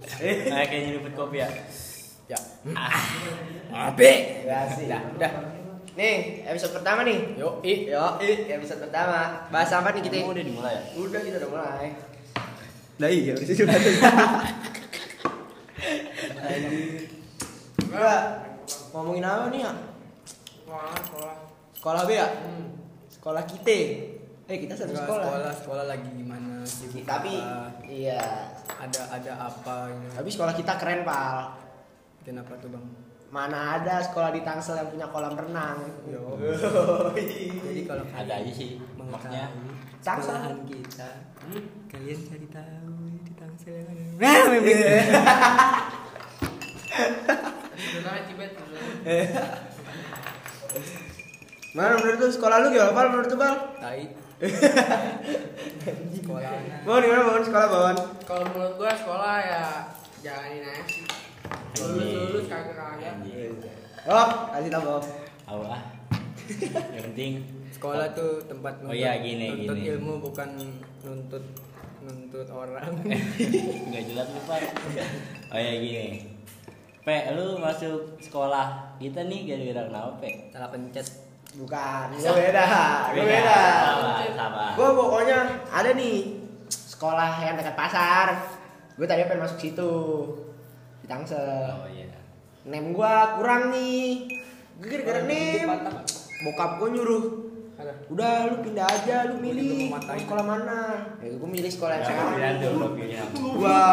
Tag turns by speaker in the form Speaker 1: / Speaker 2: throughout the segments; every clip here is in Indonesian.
Speaker 1: Nah, kayaknya nyeruput kopi ya.
Speaker 2: Ya.
Speaker 3: Ah.
Speaker 1: Abe.
Speaker 2: Ya sih. Dah, dah.
Speaker 3: Nih, episode pertama nih.
Speaker 2: Yuk, i.
Speaker 3: Yo, episode pertama. Bahas apa nih kita?
Speaker 1: Kamu udah dimulai ya?
Speaker 3: Udah kita udah mulai.
Speaker 2: Lah iya,
Speaker 3: Gua ngomongin apa nih ya? Sekolah, sekolah. Sekolah B ya? Sekolah kita. Eh, kita satu sekolah.
Speaker 2: sekolah, sekolah lagi gimana? Sibuk
Speaker 3: Tapi
Speaker 2: apa?
Speaker 3: iya.
Speaker 2: ada ada apa gitu.
Speaker 3: Tapi sekolah kita keren, Pal.
Speaker 2: Kenapa tuh, Bang?
Speaker 3: Mana ada sekolah di Tangsel yang punya kolam renang?
Speaker 2: Yo. Jadi kalau kalian
Speaker 1: Ada aja sih. Maknya
Speaker 2: mengetahui
Speaker 3: Caksa.
Speaker 2: kesalahan kita,
Speaker 4: Hmm?
Speaker 2: kalian cari tahu di kan. tangsel yang ada. Wah, memang.
Speaker 3: Mana menurut lu sekolah lu gimana, Pal? Menurut lu, Pal?
Speaker 2: Tai. Sekolahan.
Speaker 3: Mau di mana, Bawon? Sekolah, Bawon.
Speaker 4: Iya. kalau menurut gua sekolah ya jalanin aja sih lulus lulus kagak kagak
Speaker 1: Anjing.
Speaker 3: Oh, kasih tau, Bob.
Speaker 1: Awa ah. Yang penting
Speaker 2: Sekolah tuh tempat
Speaker 1: Oh iya, gini,
Speaker 2: nuntut
Speaker 1: gini.
Speaker 2: ilmu bukan nuntut nuntut orang.
Speaker 1: nggak jelas lupa. Oh ya gini. Pe, lu masuk sekolah kita nih gara-gara kenapa, Pe?
Speaker 2: Salah pencet.
Speaker 3: Bukan, gua beda. Gua beda.
Speaker 1: Sama, sama.
Speaker 3: Gua pokoknya ada nih sekolah yang dekat pasar. Gue tadi pengen masuk situ. Di Tangsel.
Speaker 1: Oh iya.
Speaker 3: Nem gua kurang nih. Gue gara-gara nem. Bokap gua nyuruh Udah lu pindah aja, lu milih
Speaker 2: Gua juga mau
Speaker 3: mau
Speaker 2: matain.
Speaker 3: sekolah mana? Ya gue milih sekolah yang
Speaker 1: Jangan bilang
Speaker 3: sekarang.
Speaker 1: tuh, lu bilang.
Speaker 3: Gua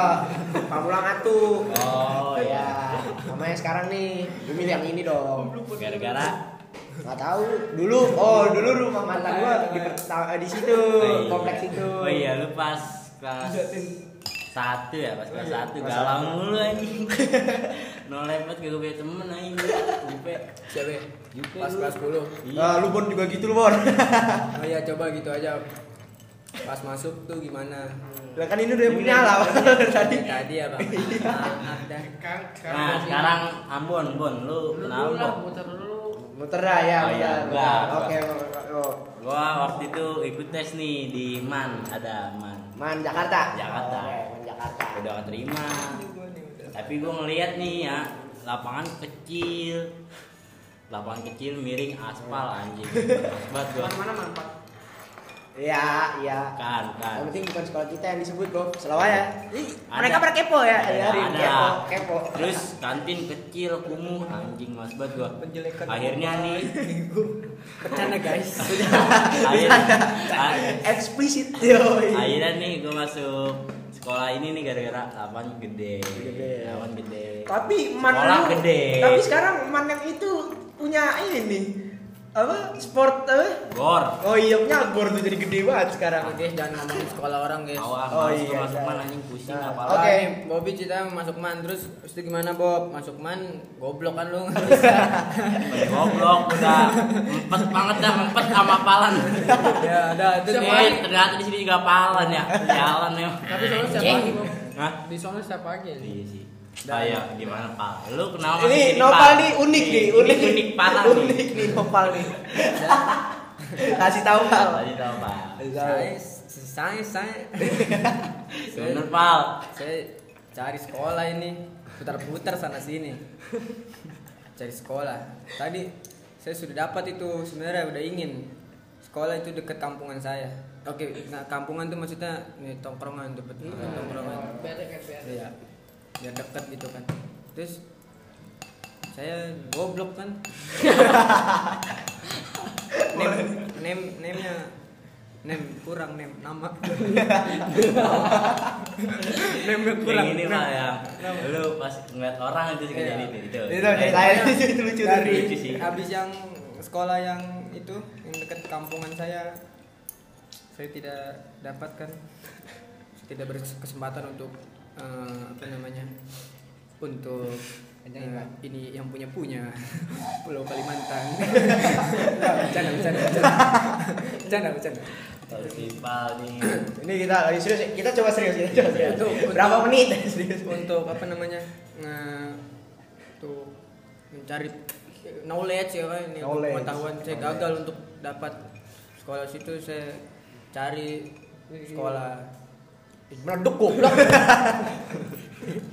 Speaker 3: Pamulang atuh.
Speaker 1: Oh
Speaker 3: ya,
Speaker 1: iya.
Speaker 3: namanya sekarang nih, lu milih yang ini dong.
Speaker 1: Gara-gara
Speaker 3: Gak tahu. Iya. Dulu, oh dulu rumah mantan gua di perta- di situ,
Speaker 1: Oh, iya.
Speaker 3: kompleks itu.
Speaker 1: Oh iya, lu pas kelas satu ya, pas kelas satu
Speaker 3: kelas
Speaker 1: galau mulu anjing. Nol lewat gak punya temen anjing. Jupe.
Speaker 2: Siapa? ya?
Speaker 1: Jupe.
Speaker 2: Pas
Speaker 1: lu.
Speaker 2: kelas 10.
Speaker 1: Iya.
Speaker 3: Ah, lu bon juga gitu lu bon.
Speaker 2: Oh iya, coba gitu aja. Pas masuk tuh gimana?
Speaker 3: Lah kan ini udah punya lah tadi.
Speaker 2: Kayak Tadi ya, Bang. Maaf dah.
Speaker 4: kan
Speaker 1: Nah, sekarang Ambon, Bon, lu
Speaker 4: dulu
Speaker 1: kenal Bon?
Speaker 4: lah muter dulu
Speaker 3: Muter dah ya.
Speaker 1: Oh, iya,
Speaker 3: muter.
Speaker 1: gua- gua.
Speaker 3: Oke, oke, oke.
Speaker 1: Gua waktu itu ikut tes nih di MAN, ada MAN.
Speaker 3: Man Jakarta.
Speaker 1: Jakarta.
Speaker 3: Oke, Man Jakarta.
Speaker 1: Udah keterima. Tapi gua ngeliat nih ya, lapangan kecil. Lapangan kecil miring aspal anjing. Males banget gua.
Speaker 4: mana mana manfaat
Speaker 3: Iya, iya.
Speaker 1: Kan, kan.
Speaker 3: Yang penting bukan sekolah kita yang disebut, Bob. Selawaya.
Speaker 1: Ada.
Speaker 3: Mereka pada kepo ya,
Speaker 1: Ada,
Speaker 3: hari
Speaker 1: ada.
Speaker 3: kepo, kepo.
Speaker 1: Terus kantin kecil kumuh anjing mas banget gua.
Speaker 2: Penjelekan.
Speaker 1: Akhirnya nih,
Speaker 2: Bercanda, guys.
Speaker 1: akhir, ah, a-
Speaker 3: eksplisit yoi.
Speaker 1: akhirnya nih gua masuk sekolah ini nih gara-gara lapangan gede.
Speaker 3: Gede.
Speaker 1: Lapangan gede.
Speaker 3: Tapi man
Speaker 1: Sekolah
Speaker 3: lu-
Speaker 1: gede.
Speaker 3: Tapi sekarang man yang itu punya ini apa sport apa?
Speaker 1: Gor.
Speaker 3: Oh iya punya gor tuh jadi gede banget sekarang.
Speaker 2: Oke, guys, jangan ngomongin sekolah orang, guys.
Speaker 1: Awal
Speaker 3: Oh,
Speaker 1: masuk
Speaker 3: iya,
Speaker 1: masuk
Speaker 3: iya.
Speaker 1: mana anjing pusing
Speaker 3: Nah,
Speaker 1: apa
Speaker 3: oke.
Speaker 2: Oke, Bobby cerita masuk man terus terus itu gimana Bob? Masuk man goblok kan lu nggak bisa.
Speaker 1: Goblok udah empet banget dah empet sama palan.
Speaker 2: ya, udah itu
Speaker 4: Siapa
Speaker 2: nih.
Speaker 1: Eh, ternyata di sini juga palan ya. Jalan ya.
Speaker 4: tapi soalnya setiap
Speaker 1: Anjing.
Speaker 4: pagi Bob.
Speaker 1: Hah?
Speaker 4: di soalnya setiap pagi nih
Speaker 1: Iya sih. Saya gimana Pak? Lu kenal
Speaker 3: Nah. Ini
Speaker 1: sama sini,
Speaker 3: Nopal
Speaker 1: Pak?
Speaker 3: nih unik
Speaker 1: Ini-
Speaker 3: nih,
Speaker 1: ini
Speaker 3: unik.
Speaker 1: unik parah nih.
Speaker 3: Unik nih Nopal nih. Kasih tahu Pal.
Speaker 1: Tadi tahu Pak.
Speaker 3: Iya.
Speaker 2: Saya saya saya
Speaker 1: Bener Pak.
Speaker 2: saya cari sekolah ini putar-putar sana sini. Cari sekolah. Tadi saya sudah dapat itu sebenarnya udah ingin sekolah itu dekat kampungan saya. Oke, nah, kampungan tuh maksudnya nih, tongkrongan tuh betul tongkrongan.
Speaker 4: beda kan beda
Speaker 2: ya biar dekat gitu kan terus saya goblok kan nem nem nemnya nem kurang nem nama nemnya
Speaker 1: Kayak
Speaker 2: kurang
Speaker 1: gini
Speaker 2: nem.
Speaker 1: Pak ya. Lu pas ngeliat orang itu sih
Speaker 2: Iya.
Speaker 1: jadi itu.
Speaker 3: Itu ceritain itu lucu tuh.
Speaker 2: dari
Speaker 1: Lucu sih.
Speaker 2: habis yang sekolah yang itu yang dekat kampungan saya saya tidak dapatkan Saya tidak berkesempatan untuk eh, apa namanya untuk eh, ini yang punya punya Pulau Kalimantan Nah, bercanda bercanda bercanda bercanda bercanda
Speaker 1: Terus si Pak nih.
Speaker 3: Ini kita lagi serius, ya. kita coba serius kita coba serius.
Speaker 2: Itu untuk-
Speaker 3: Berapa menit serius?
Speaker 2: untuk apa namanya nge- untuk mencari knowledge ya kan ini
Speaker 3: Knowledge.
Speaker 2: pengetahuan saya
Speaker 3: Knowledge.
Speaker 2: gagal untuk dapat sekolah situ saya cari sekolah
Speaker 3: Meleduk goblok.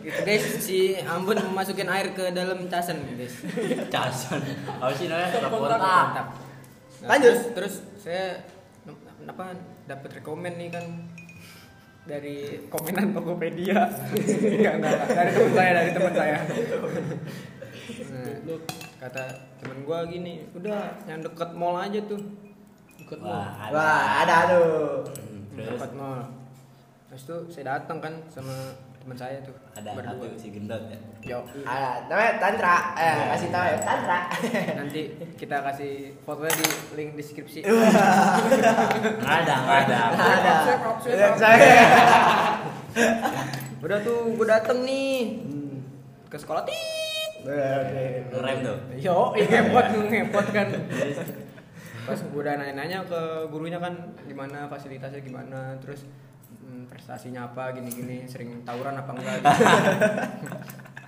Speaker 2: Gitu, guys, si Ambon masukin air ke dalam casan guys.
Speaker 1: Casan. Apa sih namanya?
Speaker 4: Kontak.
Speaker 1: Kontak.
Speaker 2: Mantap. Nah,
Speaker 3: Lanjut.
Speaker 2: Terus, terus saya n- apa dapat rekomen nih kan dari komenan Tokopedia. Enggak, enggak, enggak. dari teman saya, dari teman saya. Nah, kata temen gua gini, udah yang deket mall aja tuh. Deket
Speaker 1: Wah,
Speaker 2: mall.
Speaker 1: ada.
Speaker 3: Wah, ada aduh.
Speaker 1: Hmm, Terus
Speaker 2: Deket mall. Terus tuh saya datang kan sama teman saya tuh.
Speaker 1: ada satu si gendot ya.
Speaker 2: Yo.
Speaker 3: Ada, namanya Tantra. Eh, kasih tahu ya, Tantra.
Speaker 2: Nanti kita kasih fotonya di link deskripsi.
Speaker 1: Nggak ada, nggak ada.
Speaker 3: Ada.
Speaker 4: Swipe up, swipe up.
Speaker 3: Saya.
Speaker 2: Udah tuh gue dateng nih
Speaker 3: Hmm.
Speaker 2: ke sekolah tit.
Speaker 1: Ngerem tuh.
Speaker 2: Yo, ih, ngepot ngepot kan. Pas gue udah nanya-nanya ke gurunya kan gimana fasilitasnya gimana, terus hmm, prestasinya apa gini-gini, sering tawuran apa enggak. Gitu.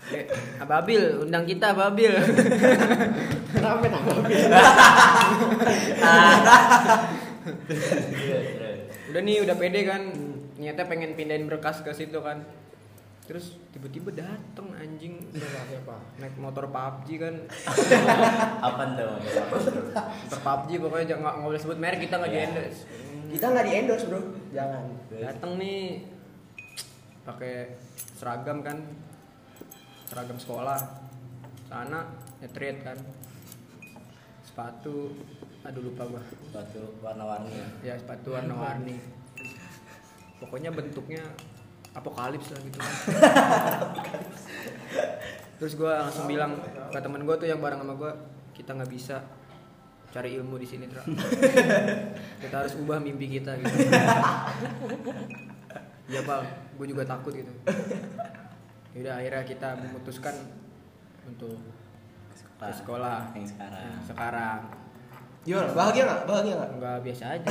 Speaker 2: Eh, Ababil, undang kita Ababil.
Speaker 3: Kenapa namanya?
Speaker 1: Iya, terus.
Speaker 2: udah nih, udah pede kan. Niatnya pengen pindahin berkas ke situ kan. Terus tiba-tiba dateng anjing
Speaker 4: Siapa?
Speaker 2: naik motor PUBG kan.
Speaker 1: Apaan tuh?
Speaker 2: Motor PUBG pokoknya jangan nggak- nggak boleh sebut merek kita nggak Hmm.
Speaker 1: Iya.
Speaker 2: di-endorse.
Speaker 3: Kita nggak di endorse bro, jangan.
Speaker 2: datang nih pakai seragam kan seragam sekolah sana nyetrit kan sepatu aduh lupa gua
Speaker 1: Batu warna-warni.
Speaker 2: ya sepatu warna-warni pokoknya bentuknya apokalips lah gitu kan terus gua langsung bilang ke temen gua tuh yang bareng sama gua kita nggak bisa cari ilmu di sini Tra. kita harus ubah mimpi kita gitu ya pal gue juga takut gitu yaudah akhirnya kita memutuskan untuk ke sekolah
Speaker 1: Ah,
Speaker 2: Nah,
Speaker 1: Yang sekarang.
Speaker 2: sekarang
Speaker 3: Gimana? Bahagia nggak? Bahagia nggak?
Speaker 2: nggak biasa aja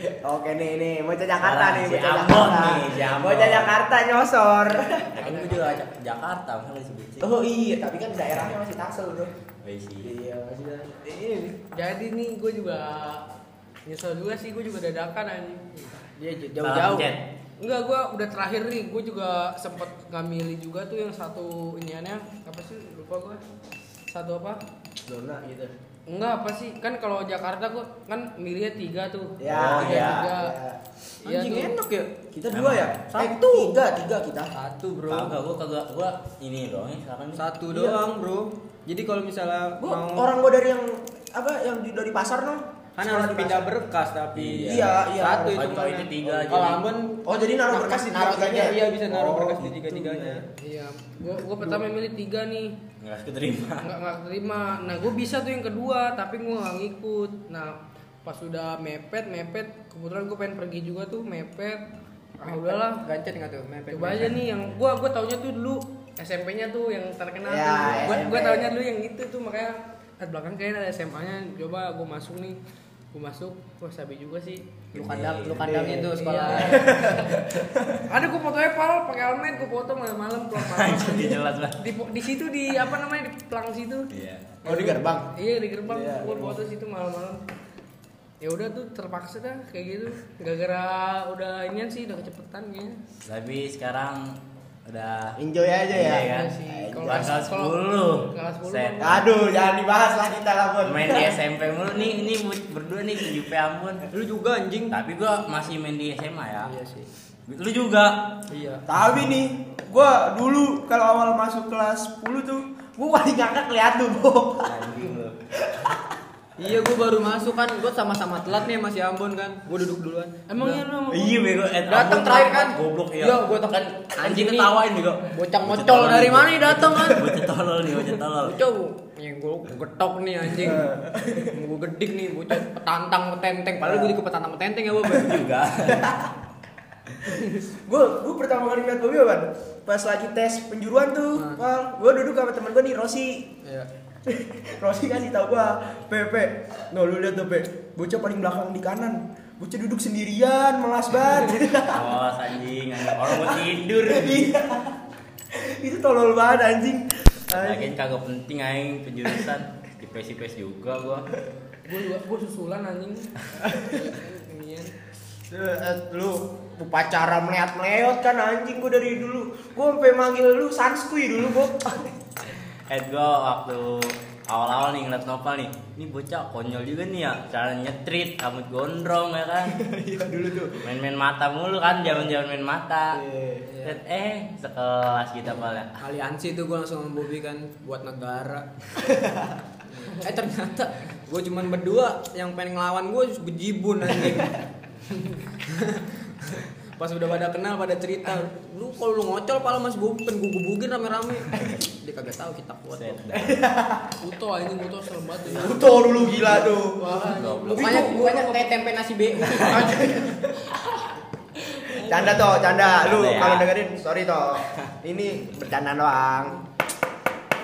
Speaker 3: Eh, Oke nih nih, bocah Jakarta
Speaker 1: Sekarang
Speaker 3: nih,
Speaker 1: si
Speaker 3: bocah
Speaker 1: Ambon
Speaker 3: Jakarta.
Speaker 1: nih, si Ambon.
Speaker 3: Bocah Jakarta nyosor.
Speaker 1: Ya kan gue juga ajak ke Jakarta, masa disebut sih?
Speaker 3: Oh iya, tapi kan daerahnya masih Tangsel bro.
Speaker 1: Wih, sih.
Speaker 3: Iya masih Tangsel. Ini nih.
Speaker 4: Jadi nih gue juga nyesel juga sih gue juga dadakan anjing.
Speaker 2: dia Iya, j-
Speaker 1: Salam
Speaker 2: jauh-jauh
Speaker 1: chat.
Speaker 4: Enggak, gue udah terakhir nih, gue juga sempet nggak milih juga tuh yang satu iniannya apa sih lupa gue satu apa?
Speaker 3: Zona gitu.
Speaker 4: Enggak apa sih kan kalau Jakarta gue kan milihnya tiga tuh.
Speaker 3: Ya,
Speaker 1: Oh,
Speaker 4: tiga,
Speaker 3: ya,
Speaker 4: tiga.
Speaker 3: ya.
Speaker 4: Iya
Speaker 2: anjing
Speaker 4: tuh.
Speaker 2: enak ya
Speaker 3: Kita dua ya?
Speaker 2: Satu.
Speaker 3: Eh, tiga, tiga kita.
Speaker 2: satu bro
Speaker 1: Kagak, gue kagak, gue ini doang ya sekarang nih.
Speaker 2: satu
Speaker 4: Iya.
Speaker 2: doang bro jadi kalau misalnya
Speaker 3: Gua,
Speaker 2: mau
Speaker 3: orang gua dari yang apa yang di, dari pasar dong.
Speaker 2: kan harus pindah berkas tapi
Speaker 3: Iya, iya.
Speaker 2: satu
Speaker 1: Oh,
Speaker 2: itu
Speaker 1: kalau itu tiga aja
Speaker 2: kalau
Speaker 1: nih.
Speaker 2: Ambon
Speaker 3: Oh, jadi naruh berkas di
Speaker 2: naruh
Speaker 3: tiga-tiganya?
Speaker 2: iya bisa naruh
Speaker 3: Oh,
Speaker 2: berkas di
Speaker 3: gitu
Speaker 2: tiga tiganya
Speaker 3: ya.
Speaker 4: Iya, gue gue pertama milih tiga nih.
Speaker 1: Nggak keterima.
Speaker 4: nggak nggak terima nah gue bisa tuh yang kedua tapi gue nggak ngikut nah pas udah mepet mepet kebetulan gue pengen pergi juga tuh mepet ah udahlah
Speaker 2: gancet nggak tuh mepet
Speaker 4: coba aja nih yang gue gue taunya tuh dulu SMP-nya tuh yang terkenal
Speaker 3: Ya,
Speaker 4: tuh. gue gue
Speaker 3: SMP.
Speaker 4: taunya dulu yang itu tuh makanya at belakang kayaknya ada SMA-nya coba gue masuk nih gue masuk gue sabi juga sih
Speaker 2: lu kandang lu kandang
Speaker 3: Gede.
Speaker 2: itu sekolah
Speaker 4: Iya. ada gue fotonya pal pakai helmet gue foto malam-malam pulang malam
Speaker 1: Jadi jelas banget.
Speaker 4: di di situ di apa namanya di pelang situ
Speaker 1: Iya.
Speaker 3: Oh di gerbang.
Speaker 4: Iya di gerbang
Speaker 3: Iya,
Speaker 4: gua
Speaker 3: iya.
Speaker 4: foto situ malam-malam. Ya udah tuh terpaksa dah kayak gitu. Gara-gara udah ini sih udah kecepetan ya.
Speaker 1: Tapi sekarang udah
Speaker 3: Enjoy aja ya.
Speaker 1: Iya, kan?
Speaker 4: sih. Kalau
Speaker 1: Kelas 10
Speaker 4: kalau- kelas 10.
Speaker 1: Set.
Speaker 3: Aduh, jangan dibahas lah kita lah Bon.
Speaker 1: Main di SMP mulu nih, ini berdua nih di UP Ambon
Speaker 2: lu juga anjing
Speaker 1: Tapi gua masih main di SMA ya
Speaker 2: iya sih
Speaker 1: Lu juga
Speaker 2: iya
Speaker 3: Tapi nih, gua dulu kalau awal masuk kelas 10 tuh, gua paling ngangkat lihat tuh, Bo.
Speaker 2: iya gua baru masuk kan gua sama-sama telat nih masih Ambon kan gua duduk duluan
Speaker 4: Emang
Speaker 2: Udah.
Speaker 4: ya lu sama
Speaker 1: Iya bego eh,
Speaker 2: Datang
Speaker 1: Ambon
Speaker 2: terakhir kan?
Speaker 1: Goblok iya
Speaker 2: Iya, gua tekan.
Speaker 1: Anjing
Speaker 2: Anjing nih.
Speaker 1: ketawain juga
Speaker 2: Bocah mocol dari mana nih datang kan?
Speaker 1: Bocah tolol nih, bocah tolol
Speaker 2: Coba yang gue getok nih anjing gue gedik nih bocah petantang petenteng padahal gue juga petantang petenteng ya gue
Speaker 1: Juga
Speaker 3: Gua gua pertama kali ngeliat Bobby Ban. Pas lagi tes penjuruan tuh,
Speaker 2: Hmm.
Speaker 3: Wal, gua duduk sama temen gua nih Rosi.
Speaker 2: Iya.
Speaker 3: Rosi kasih tau gua, PP, no lu lihat tuh Pe, bocah paling belakang di kanan, bocah duduk sendirian, malas banget.
Speaker 1: Awas anjing, anjing. orang mau tidur
Speaker 3: Iya. Itu tolol banget anjing.
Speaker 1: Lagian kagak penting aing penjurusan Di pes-pes juga gua
Speaker 4: Gua juga gua susulan anjing. Inian.
Speaker 3: Eh, lu upacara melihat meleot kan anjing gua dari dulu gua sampai manggil lu sanskui dulu gua
Speaker 1: Eh gue waktu awal-awal nih ngeliat Nopal nih, ini bocah konyol juga nih ya, cara nyetrit, rambut gondrong ya kan,
Speaker 3: iya dulu tuh
Speaker 1: main-main mata mulu kan, zaman-zaman main mata.
Speaker 3: Iya.
Speaker 1: Set, Eh, sekelas kita ya. malah.
Speaker 2: aliansi itu gue langsung sama Bobby kan buat negara eh ternyata gue cuman berdua yang pengen ngelawan gue bejibun anjing pas udah pada kenal pada cerita lu kalau lu ngocol pala mas Bobby pengen gue gebugin rame-rame dia kagak tahu kita kuat
Speaker 1: Set,
Speaker 2: loh.
Speaker 1: dah.
Speaker 4: Uto anjing Uto serem banget ya.
Speaker 3: Uto dulu gila tuh
Speaker 4: Wah,
Speaker 1: Goblok.
Speaker 2: Mukanya mukanya kayak tempe nasi BU.
Speaker 3: canda toh canda lu
Speaker 1: Canda ya.
Speaker 3: kalau dengerin sorry toh ini bercanda doang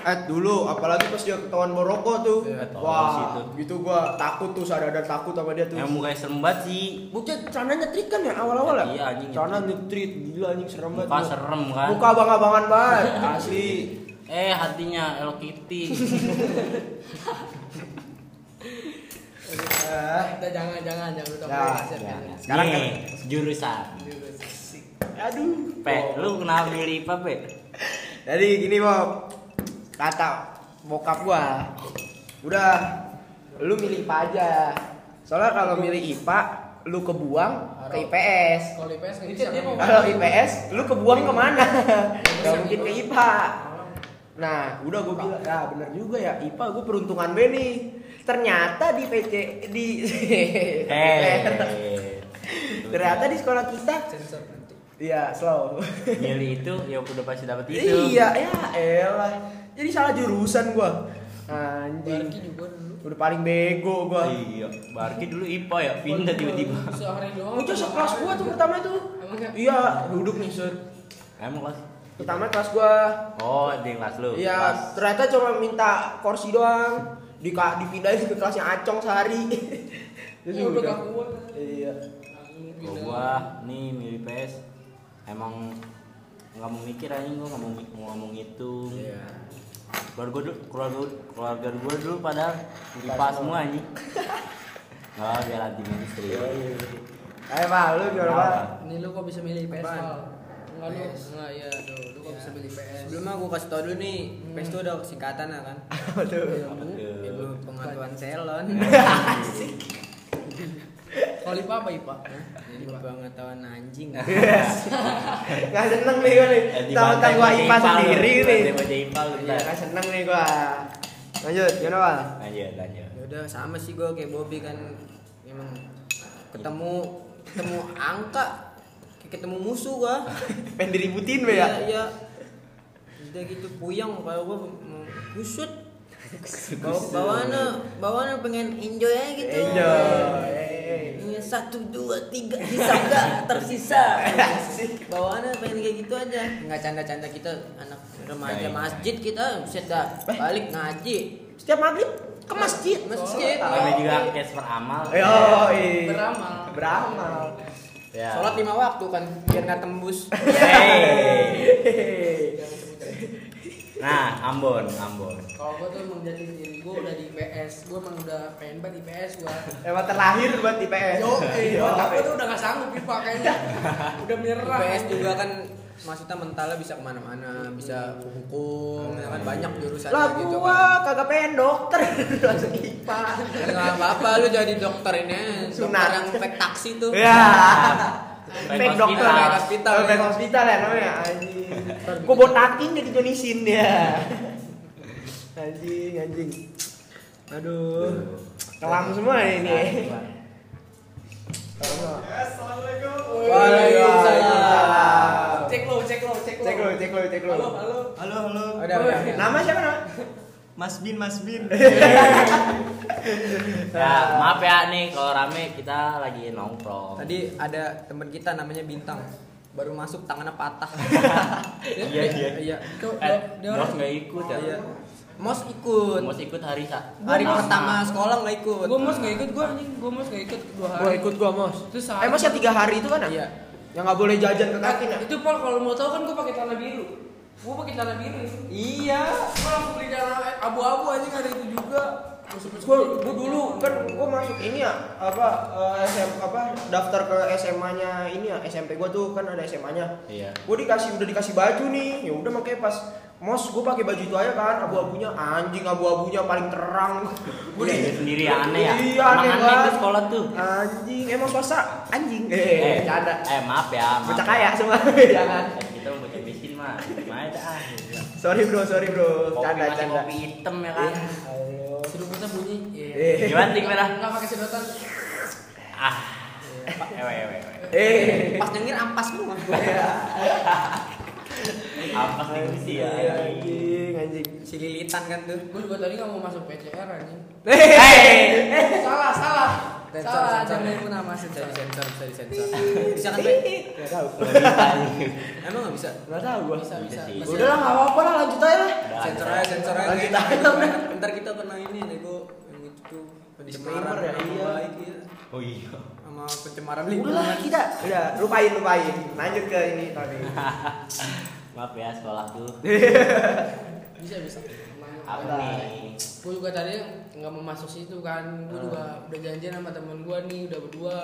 Speaker 3: eh dulu apalagi pas dia ketahuan merokok tuh
Speaker 1: Iya, tolol sih itu.
Speaker 3: wah gitu gua takut tuh sadar takut sama dia tuh
Speaker 1: Yang mukanya serem banget sih,
Speaker 3: Bucet celana nyetrit kan ya awal-awal ya?
Speaker 1: Iya, anjing,
Speaker 3: Celana nyetrit, gila anjing serem banget.
Speaker 1: muka
Speaker 3: gua.
Speaker 1: serem kan.
Speaker 3: Muka abang-abangan banget, asli.
Speaker 1: Eh hatinya Hello Kitty.
Speaker 3: Eh,
Speaker 4: Kita jangan jangan jangan udah
Speaker 3: Nah,
Speaker 4: aset
Speaker 1: Ya,
Speaker 4: kan.
Speaker 1: ya.
Speaker 3: Sekarang
Speaker 1: Sekarang nih, jurusan.
Speaker 4: Juga sih.
Speaker 3: aduh.
Speaker 1: Pe,
Speaker 3: Oh.
Speaker 1: lu kenapa milih IPA, Pe?
Speaker 3: Jadi gini Bob, kata bokap gua, udah lu milih IPA aja. Soalnya kalau milih IPA, lu kebuang ke IPS.
Speaker 4: Kalau IPS nggak bisa.
Speaker 2: dia
Speaker 4: kan?
Speaker 2: mau-
Speaker 3: Kalau IPS, lu kebuang kemana? Gak
Speaker 4: Bisa,
Speaker 3: mungkin ke
Speaker 4: gitu.
Speaker 3: IPA. Nah, udah gue bilang, ya bener juga ya, IPA gue peruntungan B nih. Ternyata di PC, di...
Speaker 1: Eh.
Speaker 3: Ternyata di sekolah kita,
Speaker 2: Sensor nanti.
Speaker 3: iya slow.
Speaker 1: milih itu ya udah pasti dapat itu.
Speaker 3: iya, ya elah. Jadi salah jurusan gue. Anjing.
Speaker 4: Barki juga dulu.
Speaker 3: Udah paling bego gue.
Speaker 1: Iya, Barki dulu IPA ya, pindah tiba-tiba.
Speaker 4: Sehari doang.
Speaker 3: Itu sekelas gue tuh pertama itu.
Speaker 4: Emang ya?
Speaker 3: Iya, duduk nih, Sur.
Speaker 1: Emang kelas?
Speaker 3: Pertama kelas gue
Speaker 1: Oh, di kelas lu.
Speaker 3: Iya,
Speaker 1: Kelas.
Speaker 3: ternyata cuma minta kursi doang. Di dipindahin ke kelasnya Acong sehari. Terus
Speaker 4: Ya udah gak kuat.
Speaker 3: Iya.
Speaker 1: Kalau Iya, gua nih milih PS emang nggak mau mikir aja gua nggak mau mi- mau ngomong itu keluarga dulu keluarga keluarga gua dulu padahal IPA semua anjing nggak biar anti mainstream
Speaker 3: Ayo, Pak, lu gimana, Pak?
Speaker 4: Ini lu kok bisa milih IPS?
Speaker 2: Apaan?
Speaker 4: Pal? Enggak lu.
Speaker 2: IPS.
Speaker 4: Enggak ya, lu. Lu kok bisa milih IPS?
Speaker 2: Sebelumnya gue kasih tau dulu nih, PES itu ada singkatan ya kan? Ilmu
Speaker 1: Aduh.
Speaker 2: pengetahuan selon.
Speaker 4: Kalau IPA apa IPA?
Speaker 2: Ilmu pengetahuan nah, anjing.
Speaker 3: Nggak seneng nih gua nih.
Speaker 1: Eh, di
Speaker 3: Tahu-tahu
Speaker 1: bantai
Speaker 3: gua
Speaker 1: baca
Speaker 3: IPA
Speaker 1: lu.
Speaker 3: sendiri nih.
Speaker 1: Bantai baca IPA lu
Speaker 3: Iya,
Speaker 1: bentar.
Speaker 3: nggak seneng nih gua. Lanjut, gimana, Pak?
Speaker 1: lanjut lanjut
Speaker 2: Ya udah sama sih gue kayak Bobby kan emang ketemu ketemu angka kayak ketemu musuh gua.
Speaker 3: Pengen diributin, Pak ya?
Speaker 2: Iya, iya. Udah gitu puyeng kalau gua mau kusut. Bawa bawaannya, bawaannya pengen enjoy aja gitu.
Speaker 3: Enjoy. Eh.
Speaker 2: Iya, satu dua tiga hisap gak tersisa bawaannya pengen kayak gitu aja nggak canda-canda kita anak remaja
Speaker 1: Baik.
Speaker 2: masjid kita set dah balik ngaji
Speaker 3: Eh.
Speaker 2: Nah,
Speaker 3: Setiap maghrib ke masjid.
Speaker 2: masjid
Speaker 1: namanya juga Casper Amal
Speaker 3: Yo,
Speaker 4: Beramal.
Speaker 3: Iya. Beramal.
Speaker 1: ya
Speaker 2: sholat lima waktu kan biar nggak tembus
Speaker 1: Hey.
Speaker 3: Hehehe.
Speaker 1: nah Ambon Ambon
Speaker 4: Kalau gua tuh emang jadi diri gua udah di IPS. Gua emang udah pengen banget IPS gua.
Speaker 3: Emang terlahir buat IPS.
Speaker 4: Yo, eh,
Speaker 3: Yo.
Speaker 4: gua tapi tuh udah gak sanggup IPA kayaknya. Udah menyerah.
Speaker 2: PS juga kan maksudnya mentalnya bisa kemana-mana bisa hukum ya kan banyak jurusan
Speaker 3: Lah
Speaker 2: gitu kan.
Speaker 3: gua kagak pengen dokter langsung gitu. IPA.
Speaker 2: nggak apa-apa lu jadi dokter ini aja. dokter
Speaker 3: Sunat.
Speaker 2: yang pack taksi
Speaker 4: Iya.
Speaker 2: tuh
Speaker 3: Ya.
Speaker 1: Fake
Speaker 3: Fake dokter.
Speaker 1: hospital.
Speaker 3: Fake hospital.
Speaker 2: Oh, fake
Speaker 3: Fake hospital ya namanya anjing. Gua botakin jadi Johnny Sin ya. Anjing, anjing. Aduh. Kelam semua ini. Waalaikumsalam.
Speaker 4: Cek lo, cek lo, cek lo.
Speaker 3: Cek lu, cek lu, cek lu.
Speaker 4: Halo, halo.
Speaker 5: Halo, halo.
Speaker 2: udah
Speaker 3: Oh,
Speaker 2: udah
Speaker 3: Nama siapa nama?
Speaker 5: Mas Bin, Mas Bin.
Speaker 1: ya maaf ya nih kalau rame kita lagi nongkrong
Speaker 2: Tadi ada teman kita namanya Bintang baru masuk tangannya patah.
Speaker 1: Iya, iya.
Speaker 2: iya.
Speaker 4: Do-
Speaker 1: eh,
Speaker 4: do- dia
Speaker 1: Mos
Speaker 4: orang-
Speaker 1: nggak ikut ya
Speaker 2: Iya. Mos ikut.
Speaker 1: Mos ikut hari sa
Speaker 2: Hari
Speaker 1: Nama.
Speaker 2: pertama sekolah nggak ikut.
Speaker 4: Gua mos gak ikut, gua anjing, gua mos gak ikut dua hari.
Speaker 1: iya.
Speaker 3: gua Mos.
Speaker 4: Terus sehari.
Speaker 3: Eh Mos yang tiga hari itu kan? ya?
Speaker 2: Iya.
Speaker 3: Yang nggak boleh jajan ke kantin ya?
Speaker 4: Itu Paul kalau mau tahu kan gua pakai celana biru. Gua pakai celana biru.
Speaker 2: Iya.
Speaker 4: eh, Gua langsung beli celana abu-abu anjing hari itu juga.
Speaker 3: gue gue dulu kan gue masuk ini ya apa eh, SM apa daftar ke SMA nya ini ya SMP gue tuh kan ada SMA nya
Speaker 1: Iya.
Speaker 3: gue dikasih udah dikasih baju nih ya udah makanya pas mos gue pakai baju itu aja kan abu-abunya anjing abu-abunya paling terang gue
Speaker 1: Udah
Speaker 3: di-
Speaker 1: Iya, sendiri aneh ya.
Speaker 3: iya
Speaker 1: Emang
Speaker 3: aneh
Speaker 1: aneh
Speaker 3: banget
Speaker 1: tuh sekolah tuh.
Speaker 3: anjing emang swasta anjing eh, bercanda
Speaker 1: Eh, maaf ya. Maaf.
Speaker 3: bocah kaya semua jangan
Speaker 1: Eh, Kita mau bocah miskin mah. Gimana dah. ah.
Speaker 3: sorry bro sorry bro
Speaker 1: Kopi
Speaker 3: canda
Speaker 1: masih
Speaker 3: canda
Speaker 1: kopi hitam ya kan.
Speaker 4: Sedupetnya bunyi. Iya.
Speaker 3: Eh.
Speaker 1: Gimana nih merah?
Speaker 4: Enggak pakai sedotan.
Speaker 1: Ah. Ewe ewe ewe.
Speaker 3: eh
Speaker 4: Pas denger ampas semua.
Speaker 1: Apa sih ini sih ya?
Speaker 3: Eh. Iya, anjing anjing
Speaker 2: si lilitan kan tuh
Speaker 4: Gue juga tadi nggak mau masuk PCR anjing.
Speaker 3: Eh. Hey.
Speaker 4: Eh. Salah, salah.
Speaker 2: Sensor,
Speaker 4: salah,
Speaker 2: sensor,
Speaker 4: jangan
Speaker 2: ya.
Speaker 4: nyebut nama
Speaker 2: bisa
Speaker 4: sensor.
Speaker 2: disensor bisa disensor bisa kan Pe?
Speaker 3: Gak tau
Speaker 2: emang nggak bisa
Speaker 3: Gak tau gua
Speaker 4: Bisa, bisa.
Speaker 1: sih.
Speaker 4: Masih-
Speaker 3: Udah lah gak apa-apa lah lanjut aja lah
Speaker 2: sensor aja sensor aja
Speaker 3: Lanjut
Speaker 2: Kayak
Speaker 3: aja.
Speaker 2: gitu. ntar kita kena ini nego yang itu tuh pencemaran
Speaker 3: Disclaimer ya,
Speaker 2: nama
Speaker 3: iya.
Speaker 2: baik ya
Speaker 1: Oh iya.
Speaker 2: sama pencemaran
Speaker 3: Udah lah
Speaker 2: lingkungan
Speaker 3: kita Udah lupain lupain Lanjut ke ini tadi
Speaker 1: Maaf ya sekolah tuh.
Speaker 4: Bisa, bisa.
Speaker 1: Apa nih?
Speaker 4: Gue juga tadi nggak mau masuk situ kan. Gue juga udah janjian sama temen gue nih, udah berdua.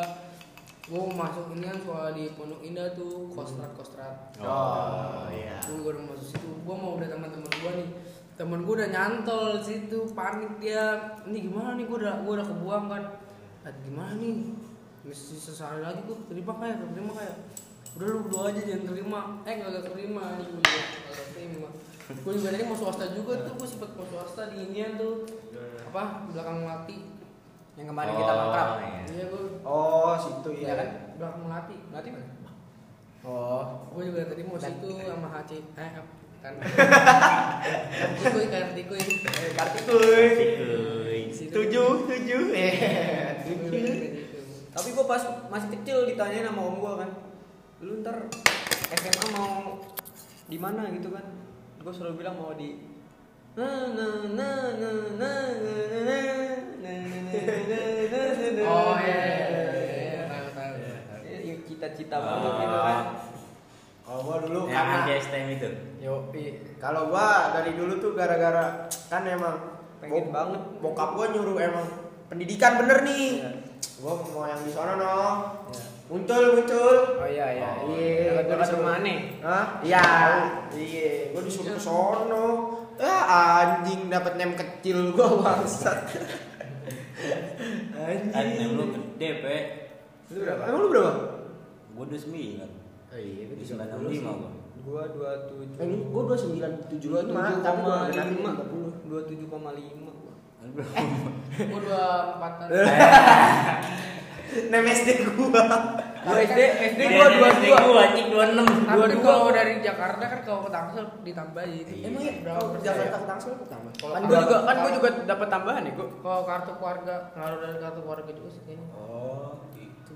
Speaker 4: Gue mau masuk ini kan sekolah di Pondok Indah tuh, kostrat kostrat.
Speaker 1: Oh iya.
Speaker 4: Gue juga udah masuk situ. Gue mau udah teman-teman gue nih. Temen gue udah nyantol situ, panik dia. Ini gimana nih? Gue udah gue udah kebuang kan. Ah, gimana nih? Mesti sesehari lagi gue terima kayak terima kayak. Udah lu berdua aja jangan terima. Eh gak terima nih gue gak terima. Gue juga tadi mau swasta juga tuh. Gue sempet mau swasta di Indian tuh. Apa belakang melati?
Speaker 2: yang kemarin kita
Speaker 1: Oh,
Speaker 2: mangkrap
Speaker 1: iya.
Speaker 4: Iya gue
Speaker 3: Oh situ ya
Speaker 4: Iya kan belakang melati.
Speaker 2: berarti mana
Speaker 3: Oh
Speaker 4: gue juga tadi mau situ sama Haci eh kan Kartikuy Kartikuy
Speaker 3: Eh, Kartu kuy
Speaker 1: Kuy.
Speaker 3: Tujuh Tujuh Eh
Speaker 2: Iya.
Speaker 3: Tujuh
Speaker 4: Kartikuy
Speaker 2: tapi gua pas masih kecil ditanyain sama om gua kan lu ntar SMA mau di mana gitu kan gua selalu bilang mau di na na na na na na na na na na na na na
Speaker 4: oh iya iya iya tahu tahu Ah.
Speaker 2: Iya, cita-cita banget gitu kan
Speaker 3: Kalau Oh, gua dulu
Speaker 1: Yang anti
Speaker 3: karena
Speaker 1: STM itu.
Speaker 3: Yo, kalau gua dari dulu tuh gara-gara kan emang
Speaker 2: Pengen
Speaker 3: bok-
Speaker 2: banget.
Speaker 3: bokap gua nyuruh emang pendidikan bener nih.
Speaker 2: Iya.
Speaker 3: Gua mau yang di sana no. Muncul muncul.
Speaker 2: oh iya iya
Speaker 1: Oh,
Speaker 2: iya
Speaker 3: iya.
Speaker 2: gua disuruh aneh
Speaker 3: Hah? Iya. Iya, gua disuruh ke sono. Ya anjing dapat nem kecil gua bangsat.
Speaker 1: Kan
Speaker 3: anjing.
Speaker 1: lu gede, Pe.
Speaker 3: Lu berapa? Emang lu berapa?
Speaker 1: Gua 29.
Speaker 3: Oh iya,
Speaker 1: Di 95 gua.
Speaker 2: gua dua tujuh
Speaker 3: Eh, gua 297
Speaker 2: dua tujuh
Speaker 3: lima, tapi gua
Speaker 2: koma lima
Speaker 3: 30.
Speaker 2: dua tujuh koma lima
Speaker 4: gue dua empatan
Speaker 3: Eh, Nem SD gua.
Speaker 2: gua SD kan Iya, SD
Speaker 1: Dia
Speaker 2: gua dua
Speaker 1: SD
Speaker 2: dua
Speaker 1: gua anjing 26.
Speaker 4: tapi kalau dari Jakarta kan kalau ke Tangsel ditambahin ya?
Speaker 1: Emang iya?
Speaker 4: berapa persen
Speaker 3: Jakarta ke Tangsel ke Tangsel.
Speaker 4: Kalau
Speaker 2: ya? kan gua
Speaker 4: kartu-
Speaker 2: juga kan gua juga dapat tambahan ya gua
Speaker 4: kalau kartu keluarga ngaruh dari kartu keluarga juga sih kayaknya
Speaker 3: Oh, gitu.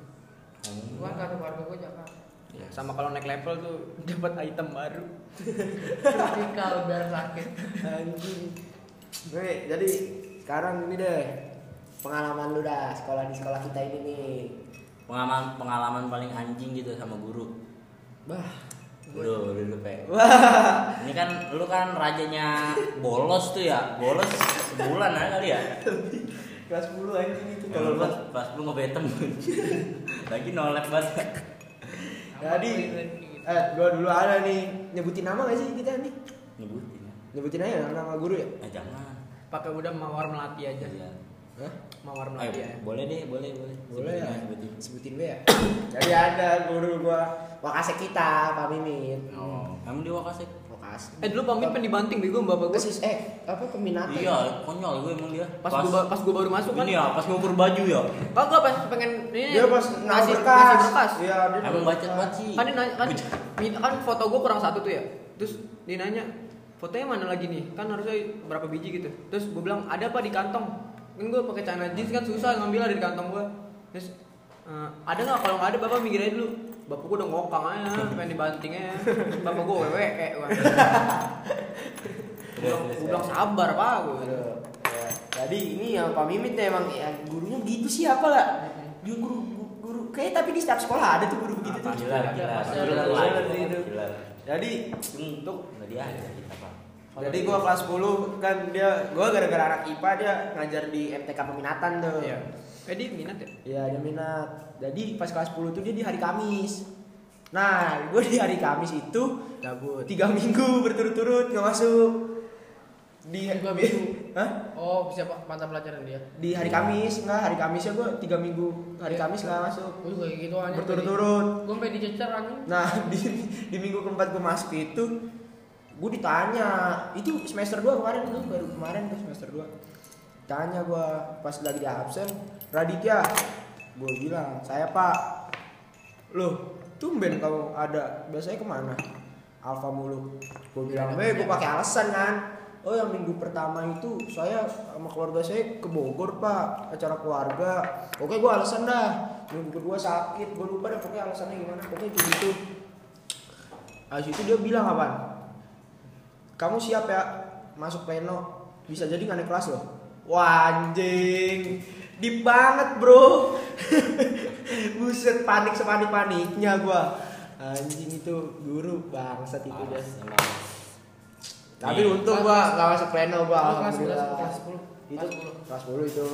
Speaker 4: bukan kartu keluarga gue Jakarta
Speaker 1: Iya.
Speaker 2: sama kalau naik level tuh dapat item baru
Speaker 4: kritikal biar sakit
Speaker 3: Anjing. Weh, jadi sekarang ini deh pengalaman lu dah sekolah di sekolah kita ini nih.
Speaker 1: Pengalaman pengalaman paling anjing gitu sama guru.
Speaker 3: Bah,
Speaker 1: Lu lu lu, Pe. Ini kan lu kan rajanya bolos tuh ya. Bolos sebulan aja kali ya.
Speaker 3: kelas 10 anjing itu
Speaker 1: Kalau pas pas lu ngebetem. Lagi nolak banget.
Speaker 3: Jadi eh gua dulu ada nih nyebutin nama gak sih kita nih?
Speaker 1: Nyebutin. ya.
Speaker 3: Nyebutin aja nama guru ya?
Speaker 1: Eh jangan.
Speaker 2: pakai udah mawar melati aja
Speaker 1: Iya.
Speaker 3: Hah?
Speaker 2: mawar melati
Speaker 1: Ayo,
Speaker 2: ya
Speaker 1: boleh deh, boleh, boleh.
Speaker 3: Boleh ya?
Speaker 1: Sebutin aja, sebutin.
Speaker 3: Sebutin gue ya? Jadi ada guru gua wakasek kita, Pak Mimin.
Speaker 1: Oh, kamu di Wakasek?
Speaker 3: Wakasek.
Speaker 2: eh dulu pamit pen dibanting bego sama bapak gua
Speaker 3: Persis eh apa peminatan?
Speaker 1: Iya, konyol gue emang dia.
Speaker 2: pas gua ba- pas gua baru masuk kan
Speaker 1: ini ya, pas ngukur baju ya.
Speaker 2: kagak pas pengen ini
Speaker 3: Dia pas ngasih
Speaker 2: ngasih ngasih berkas
Speaker 3: Iya, dia
Speaker 1: Emang bacot banget sih.
Speaker 2: kan dia nanya, kan minta- kan foto gue kurang satu tuh ya terus dia nanya fotonya mana lagi nih kan harusnya berapa biji gitu terus gue bilang ada apa di kantong kan gue pakai celana jeans kan susah ngambil dari kantong gue terus "Eh, ada nggak kalau nggak ada bapak minggir aja dulu bapak gue udah ngokang aja pengen dibanting aja bapak gue wewe eh gue bilang sabar pak gue
Speaker 3: Aduh, ya. Jadi ini yang Pak Mimit nih emang ya, gurunya gitu sih apa lah? Dia guru guru, guru. kayak tapi di setiap sekolah ada tuh guru begitu tuh.
Speaker 1: Gila, gila.
Speaker 3: Pasti ada,
Speaker 1: Gila,
Speaker 3: pasti ada
Speaker 1: gila.
Speaker 3: itu.
Speaker 1: Gila.
Speaker 3: Jadi
Speaker 1: Untuk tadi ada kita, Pak.
Speaker 3: Jadi gua kelas 10 kan dia gua gara-gara anak IPA dia ngajar di MTK peminatan tuh.
Speaker 2: Iya. Eh dia minat ya?
Speaker 3: Iya, dia minat. Jadi pas kelas 10 tuh dia di hari Kamis. Nah, gue di hari Kamis itu
Speaker 2: Gabut.
Speaker 3: tiga minggu berturut-turut nggak masuk. Di
Speaker 4: Tiga minggu?
Speaker 3: Hah?
Speaker 4: Oh, siapa mata pelajaran dia?
Speaker 3: Di hari Kamis nggak hari Kamisnya gue tiga minggu hari Kamis nggak masuk.
Speaker 4: Gue juga kayak gitu anjing.
Speaker 3: Berturut-turut.
Speaker 4: Gue sampai dicecer anjing.
Speaker 3: Nah di, di minggu keempat gue masuk itu gue ditanya itu semester 2 kemarin tuh baru kemarin tuh semester 2 tanya gue pas lagi di absen Raditya gue bilang saya pak loh tumben kamu ada biasanya kemana Alfa mulu gue bilang eh gue pakai alasan kan oh yang minggu pertama itu saya sama keluarga saya ke Bogor pak acara keluarga oke gue alasan dah minggu kedua sakit gue lupa deh pokoknya alasannya gimana pokoknya kayak gitu Habis itu dia bilang apa? Kamu siap ya masuk pleno? Bisa jadi nggak naik kelas loh. Wah anjing, deep banget bro. Buset panik sepanik paniknya gua. Anjing itu guru bangsat itu dia.
Speaker 1: Panas, emang.
Speaker 3: Tapi
Speaker 1: Nih.
Speaker 3: untung gua nggak masuk pleno gua.
Speaker 4: Lu Iya. kelas
Speaker 3: alhamdulillah.
Speaker 4: berapa? Kelas 10?
Speaker 3: Itu
Speaker 4: Kelas 10.
Speaker 3: kelas 10 itu.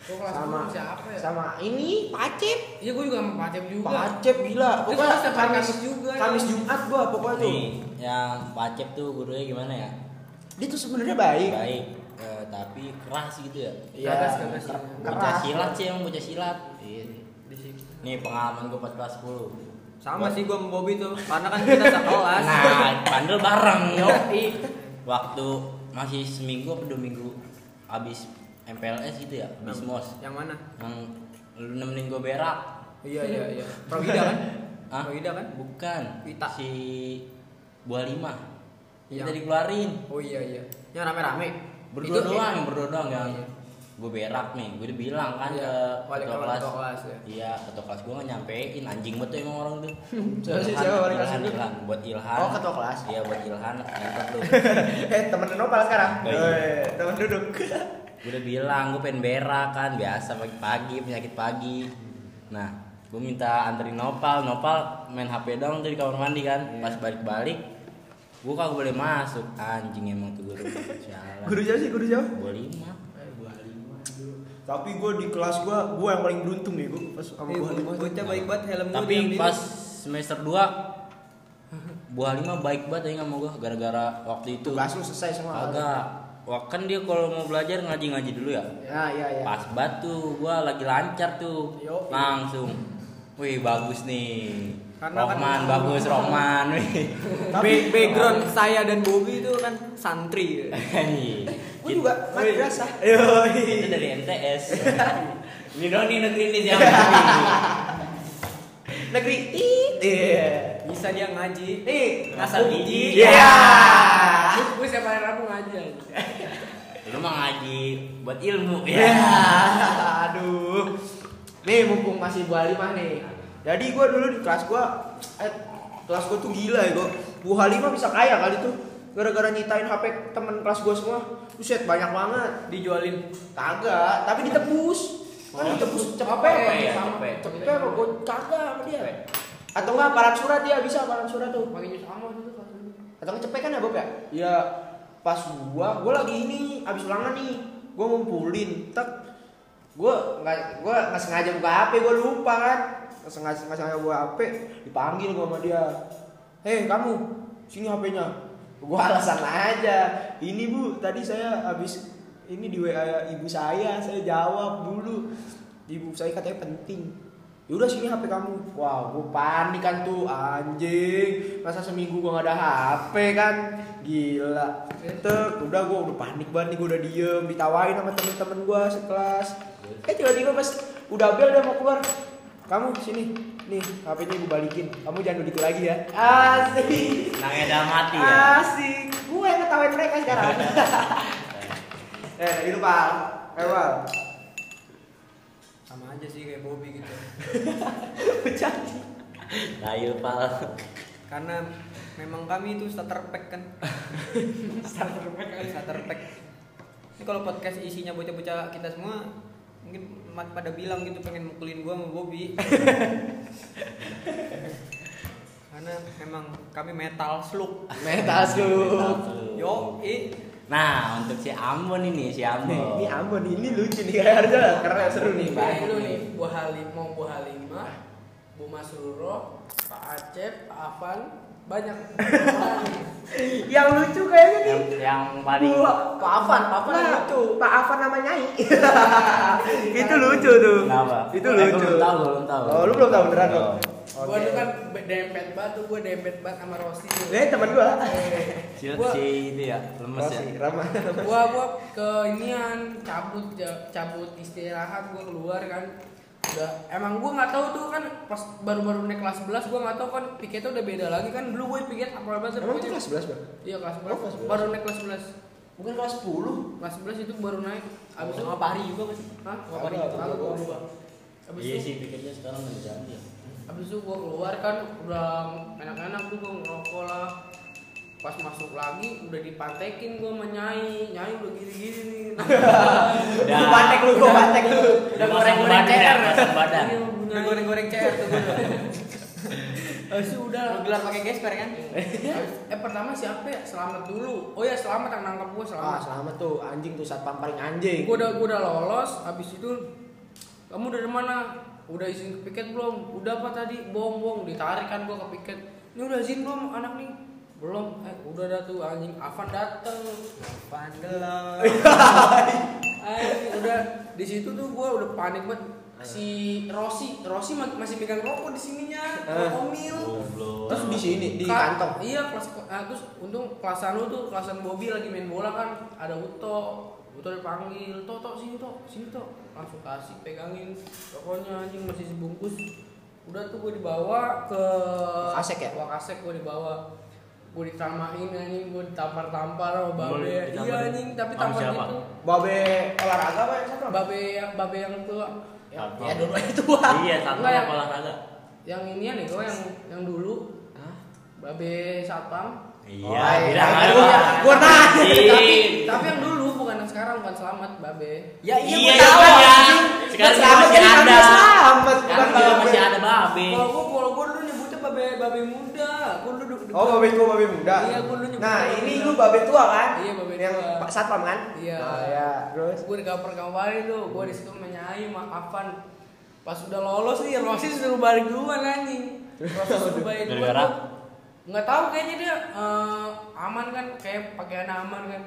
Speaker 4: Gue kelas
Speaker 3: Sama
Speaker 4: 10 siapa ya?
Speaker 3: sama ini Pacep.
Speaker 4: Iya gue juga sama Pacep juga.
Speaker 3: Pacep gila.
Speaker 4: Itu
Speaker 3: Pokoknya
Speaker 4: setiap hari
Speaker 3: Kamis,
Speaker 4: Kamis juga. Iya.
Speaker 3: Kamis Jumat gua pokoknya tuh.
Speaker 1: Nih, yang pacep tuh gurunya gimana ya?
Speaker 3: Dia tuh sebenarnya baik.
Speaker 1: Baik, eh, tapi keras gitu ya.
Speaker 3: Iya,
Speaker 4: Gagas, gagas.
Speaker 3: ker-
Speaker 1: Bocah
Speaker 3: keras.
Speaker 1: silat sih emang bocah silat. Iya.
Speaker 4: Di sini.
Speaker 1: Nih pengalaman gue pas kelas 10
Speaker 2: Sama sih gua sama Bobby tuh. Karena kan kita sekelas.
Speaker 1: Nah, bandel bareng yoi. Waktu masih seminggu apa dua minggu abis MPLS gitu ya, abis mos
Speaker 2: Yang mana?
Speaker 1: yang lu nemenin gue berak.
Speaker 2: Iya iya iya. Prawida kan?
Speaker 1: Hah?
Speaker 2: Prawida kan?
Speaker 1: Bukan.
Speaker 2: Wita.
Speaker 1: Si buah lima. Kita
Speaker 2: Yang-
Speaker 1: dikeluarin.
Speaker 2: Oh iya iya. Yang rame-rame.
Speaker 1: Berdua
Speaker 2: Itu-
Speaker 1: doang, yang berdua doang yang
Speaker 2: Iya.
Speaker 1: gue berak nih, gue udah bilang kan
Speaker 2: Iya,
Speaker 1: ke
Speaker 2: wali
Speaker 1: ketua
Speaker 2: kelas-
Speaker 1: kelas.
Speaker 2: ketua kelas, ya.
Speaker 1: Iya, ketua kelas gue nggak nyampein anjing banget tuh emang orang tuh.
Speaker 3: Siapa sih,
Speaker 1: Ilhan,
Speaker 3: siapa wali kelas
Speaker 1: Ilhan,
Speaker 3: itu?
Speaker 1: Ilhan. buat Ilhan.
Speaker 3: Oh, ketua kelas.
Speaker 1: Iya, buat Ilhan, ngentot lu.
Speaker 3: eh temen nopal sekarang
Speaker 1: Oh, iya.
Speaker 3: eh temen duduk
Speaker 1: gue udah bilang gue pengen berak kan biasa pagi-pagi penyakit pagi nah gue minta anterin Nopal Nopal main HP dong tuh di kamar mandi kan pas balik-balik gue kagak boleh masuk anjing emang tuh guru Sialan.
Speaker 3: guru siapa sih guru siapa
Speaker 1: Gua lima
Speaker 3: tapi gue di kelas gue gue yang paling beruntung deh gue pas sama
Speaker 2: Ih,
Speaker 3: gue
Speaker 2: Bocah baik banget helm gua
Speaker 1: tapi
Speaker 2: diambilin.
Speaker 1: pas semester 2 buah lima baik banget ya sama gue gara-gara waktu itu
Speaker 3: tugas lu selesai semua
Speaker 1: agak wah kan dia kalau mau belajar ngaji-ngaji dulu ya
Speaker 3: ya ya ya
Speaker 1: pas batu gua lagi lancar tuh
Speaker 3: Yo.
Speaker 1: langsung wih bagus nih
Speaker 2: Karena kan-
Speaker 1: Rohman bagus Rohman wih
Speaker 2: Ba- background saya dan Bobby itu kan santri.
Speaker 3: gue juga madrasah
Speaker 1: itu
Speaker 3: yoi
Speaker 1: dari MTS ini dong nih negeri ini siapa
Speaker 3: negeri tit iya
Speaker 2: Bisa dia ngaji.
Speaker 3: nih
Speaker 2: Ngasal biji.
Speaker 3: iya
Speaker 4: Gue siapa hari Rabu ngaji anjing.
Speaker 1: lu mah ngaji buat ilmu
Speaker 3: iya
Speaker 1: ya
Speaker 3: aduh nih mumpung masih buah lima nih jadi gue dulu di kelas gue eh kelas gue tuh gila ya gue buah lima bisa kaya kali tuh gara-gara nyitain HP temen kelas gue semua Buset banyak banget
Speaker 2: Dijualin.
Speaker 3: Kagak, tapi ditebus. Kan ditebus cepet.
Speaker 1: Cepet ya,
Speaker 3: Sama-
Speaker 1: cepet.
Speaker 4: gitu.
Speaker 3: Cepet apa gua kagak sama dia. Atau enggak paran surat dia bisa paran surat tuh.
Speaker 4: Pakai nyus
Speaker 3: gitu,
Speaker 4: sama dulu kelas dulu.
Speaker 3: Atau nggak cepet kan ya Bob ya? Iya. Pas gua, gua lagi ini abis ulangan nih. Gua ngumpulin tek. Gua nggak gua nggak sengaja buka HP, gua lupa kan. Nggak sengaja nggak sengaja buka HP, dipanggil gua sama dia. "Hei, kamu, sini HP-nya." Gua alasan aja. Ini Bu, tadi saya habis ini di WA ibu saya, saya jawab dulu. Ibu saya katanya penting. Yaudah sini HP kamu. Wah, gue panik kan tuh anjing. Masa seminggu gua nggak ada HP kan? Gila. Tek, udah gua udah panik banget nih gua udah diem, ditawain sama temen-temen gua sekelas. Eh tiba-tiba pas udah bel dia mau keluar. Kamu sini, nih HP-nya gue balikin. Kamu jangan begitu lagi ya. Iya. Asik.
Speaker 1: nang edam mati ya
Speaker 3: Ah. Asik. Gue yang ketawain mereka sekarang. eh, itu Pak. Eh, Pak.
Speaker 2: Sama aja sih kayak Bobby gitu.
Speaker 3: Bercanda.
Speaker 1: Layu pal
Speaker 2: Karena memang kami itu starter pack kan. starter pack. starter pack. Ini kalau podcast isinya bocah-bocah kita semua mungkin mat pada bilang gitu pengen mukulin gua sama Bobby. karena memang kami metal slug
Speaker 3: Metal
Speaker 1: Metal
Speaker 3: slug.
Speaker 1: slug.
Speaker 2: yo i
Speaker 1: Nah, untuk si Ambon ini, si
Speaker 3: Nih,
Speaker 1: Ambon.
Speaker 3: ini Ambon ini lucu nih kayak harusnya keren seru nih.
Speaker 4: Ini lu nih buah halim mau buah halimah, Bu Masruro, Pak Acep, Pak Afan, banyak.
Speaker 3: Yang lucu kayaknya nih.
Speaker 1: yang, yang paling
Speaker 4: Pak Afan, Pak Afan
Speaker 3: Nah,
Speaker 4: lucu.
Speaker 3: Pak Afan namanya Nyai. itu lucu tuh.
Speaker 1: kenapa?
Speaker 3: Itu
Speaker 1: Eh, gua
Speaker 3: lucu.
Speaker 1: belum tahu, gua belum tahu.
Speaker 3: Oh, lu belum tahu beneran lo.
Speaker 1: Belum.
Speaker 4: Gua tuh kan be- dempet banget tuh, gua dempet banget sama Rosi. tuh.
Speaker 3: Eh, teman gua.
Speaker 1: Si,
Speaker 4: Gua-
Speaker 1: si itu ya, lemes ya.
Speaker 3: Masih ramah.
Speaker 4: gua gua ke inian cabut ja- cabut istirahat gua keluar kan udah emang gua nggak tahu tuh kan pas baru-baru naik kelas 11 gua nggak tahu kan piketnya udah beda lagi kan dulu gua piket apa apa
Speaker 3: Emang itu kelas 11, Bang?
Speaker 4: iya kelas 11,
Speaker 3: Oh, kelas 11.
Speaker 4: baru naik kelas 11
Speaker 3: Bukan kelas 10.
Speaker 4: kelas 11 itu baru naik abis itu
Speaker 1: Sama Pari juga pasti.
Speaker 4: Hah?
Speaker 3: Apa,
Speaker 4: Apa itu?
Speaker 3: apa,
Speaker 4: Apa,
Speaker 3: apa?
Speaker 4: apa? Abis
Speaker 1: Iya
Speaker 4: itu-
Speaker 1: sih, pikirnya sekarang nggak jadi ya.
Speaker 4: Habis itu gua keluar kan udah enak-enak tuh gua ngerokok lah Pas masuk lagi udah dipantekin gua sama Nyai Nyai udah gini-gini nih
Speaker 1: Udah.
Speaker 3: Gua patek lu, gua patek lu.
Speaker 1: Udah goreng-goreng
Speaker 4: CR.
Speaker 1: Masuk badan.
Speaker 4: Iya, Bu Nyai.
Speaker 2: goreng-goreng cair tuh
Speaker 4: Habis itu udah
Speaker 2: gelar pakai gesper kan
Speaker 4: Eh pertama siapa ya? Selamat dulu Oh ya selamat yang nangkap gua
Speaker 3: Ah,
Speaker 4: selamat
Speaker 3: selamat tuh anjing tuh satpam paling anjing.
Speaker 4: Gua udah, gua udah lolos habis itu Kamu dari mana? Udah izin ke piket belum? Udah apa tadi? Bohong-bohong ditarik kan gua ke piket Ini udah izin belum anak nih? Belum, eh udah dah tuh anjing Avan dateng
Speaker 2: Pandela.
Speaker 4: Ay, udah di situ tuh gue udah panik banget si Rossi Rossi ma- masih megang rokok di sininya
Speaker 3: Eh.
Speaker 4: rokok mil
Speaker 1: Goblok.
Speaker 3: Terus di sini di
Speaker 4: Ka-
Speaker 3: kantong.
Speaker 4: iya kelas ah, terus untung kelasan lu tuh kelasan Bobby lagi main bola kan ada Uto Uto dipanggil Toto sini Tok sini Tok langsung kasih pegangin rokoknya anjing masih sebungkus udah tuh gue dibawa ke
Speaker 3: Wakasek ya?
Speaker 4: Wakasek gue dibawa gue ditalmain anjing gue ditampar-tampar
Speaker 1: Lu
Speaker 4: sama babe iya
Speaker 1: ditampar?
Speaker 4: anjing tapi
Speaker 1: Sama
Speaker 4: tampar
Speaker 1: siapa?
Speaker 4: gitu
Speaker 3: Babe olahraga apa yang satu?
Speaker 4: babe yang babe yang tua
Speaker 3: Ya,
Speaker 1: Satpam.
Speaker 3: ya dulu itu tua.
Speaker 1: Iya, satu
Speaker 4: Enggak, yang-
Speaker 1: olahraga.
Speaker 4: yang ini ya nih gue yang yang dulu babe satpam
Speaker 1: Iya,
Speaker 3: Oh,
Speaker 1: bilang
Speaker 3: iya.
Speaker 1: aja.
Speaker 3: Gua- gua nanya.
Speaker 1: Iya.
Speaker 4: tapi yang dulu bukan yang sekarang bukan selamat babe
Speaker 3: Ya iya,
Speaker 1: Iya,
Speaker 3: gua tahu.
Speaker 1: iya.
Speaker 3: anjing.
Speaker 1: Sekarang
Speaker 3: Gua selamat,
Speaker 1: masih
Speaker 3: jadi
Speaker 1: ada.
Speaker 3: kami Selamat
Speaker 1: Sekarang
Speaker 3: bukan
Speaker 1: juga masih
Speaker 3: babe.
Speaker 1: ada babe.
Speaker 4: kalau gue kalau gue dulu nyebutnya babe babe muda gue dulu dulu-
Speaker 3: Oh, babe tua, babe muda.
Speaker 4: Iya, gua dulu nyebut
Speaker 3: Nah,
Speaker 4: babe
Speaker 3: ini
Speaker 4: muda.
Speaker 3: lu babe tua kan?
Speaker 4: Iya, babe
Speaker 3: Yang
Speaker 4: tua.
Speaker 3: Pak Satpam kan?
Speaker 4: Iya.
Speaker 3: Nah, ya, terus
Speaker 4: gue digaper kemarin tuh gue di situ menyayi maafan pas udah lolos nih Rosi suruh balik duluan anjing Rosi suruh balik duluan
Speaker 1: Gara-gara?
Speaker 4: tuh. nggak tahu kayaknya dia eh, aman kan kayak pakaian aman kan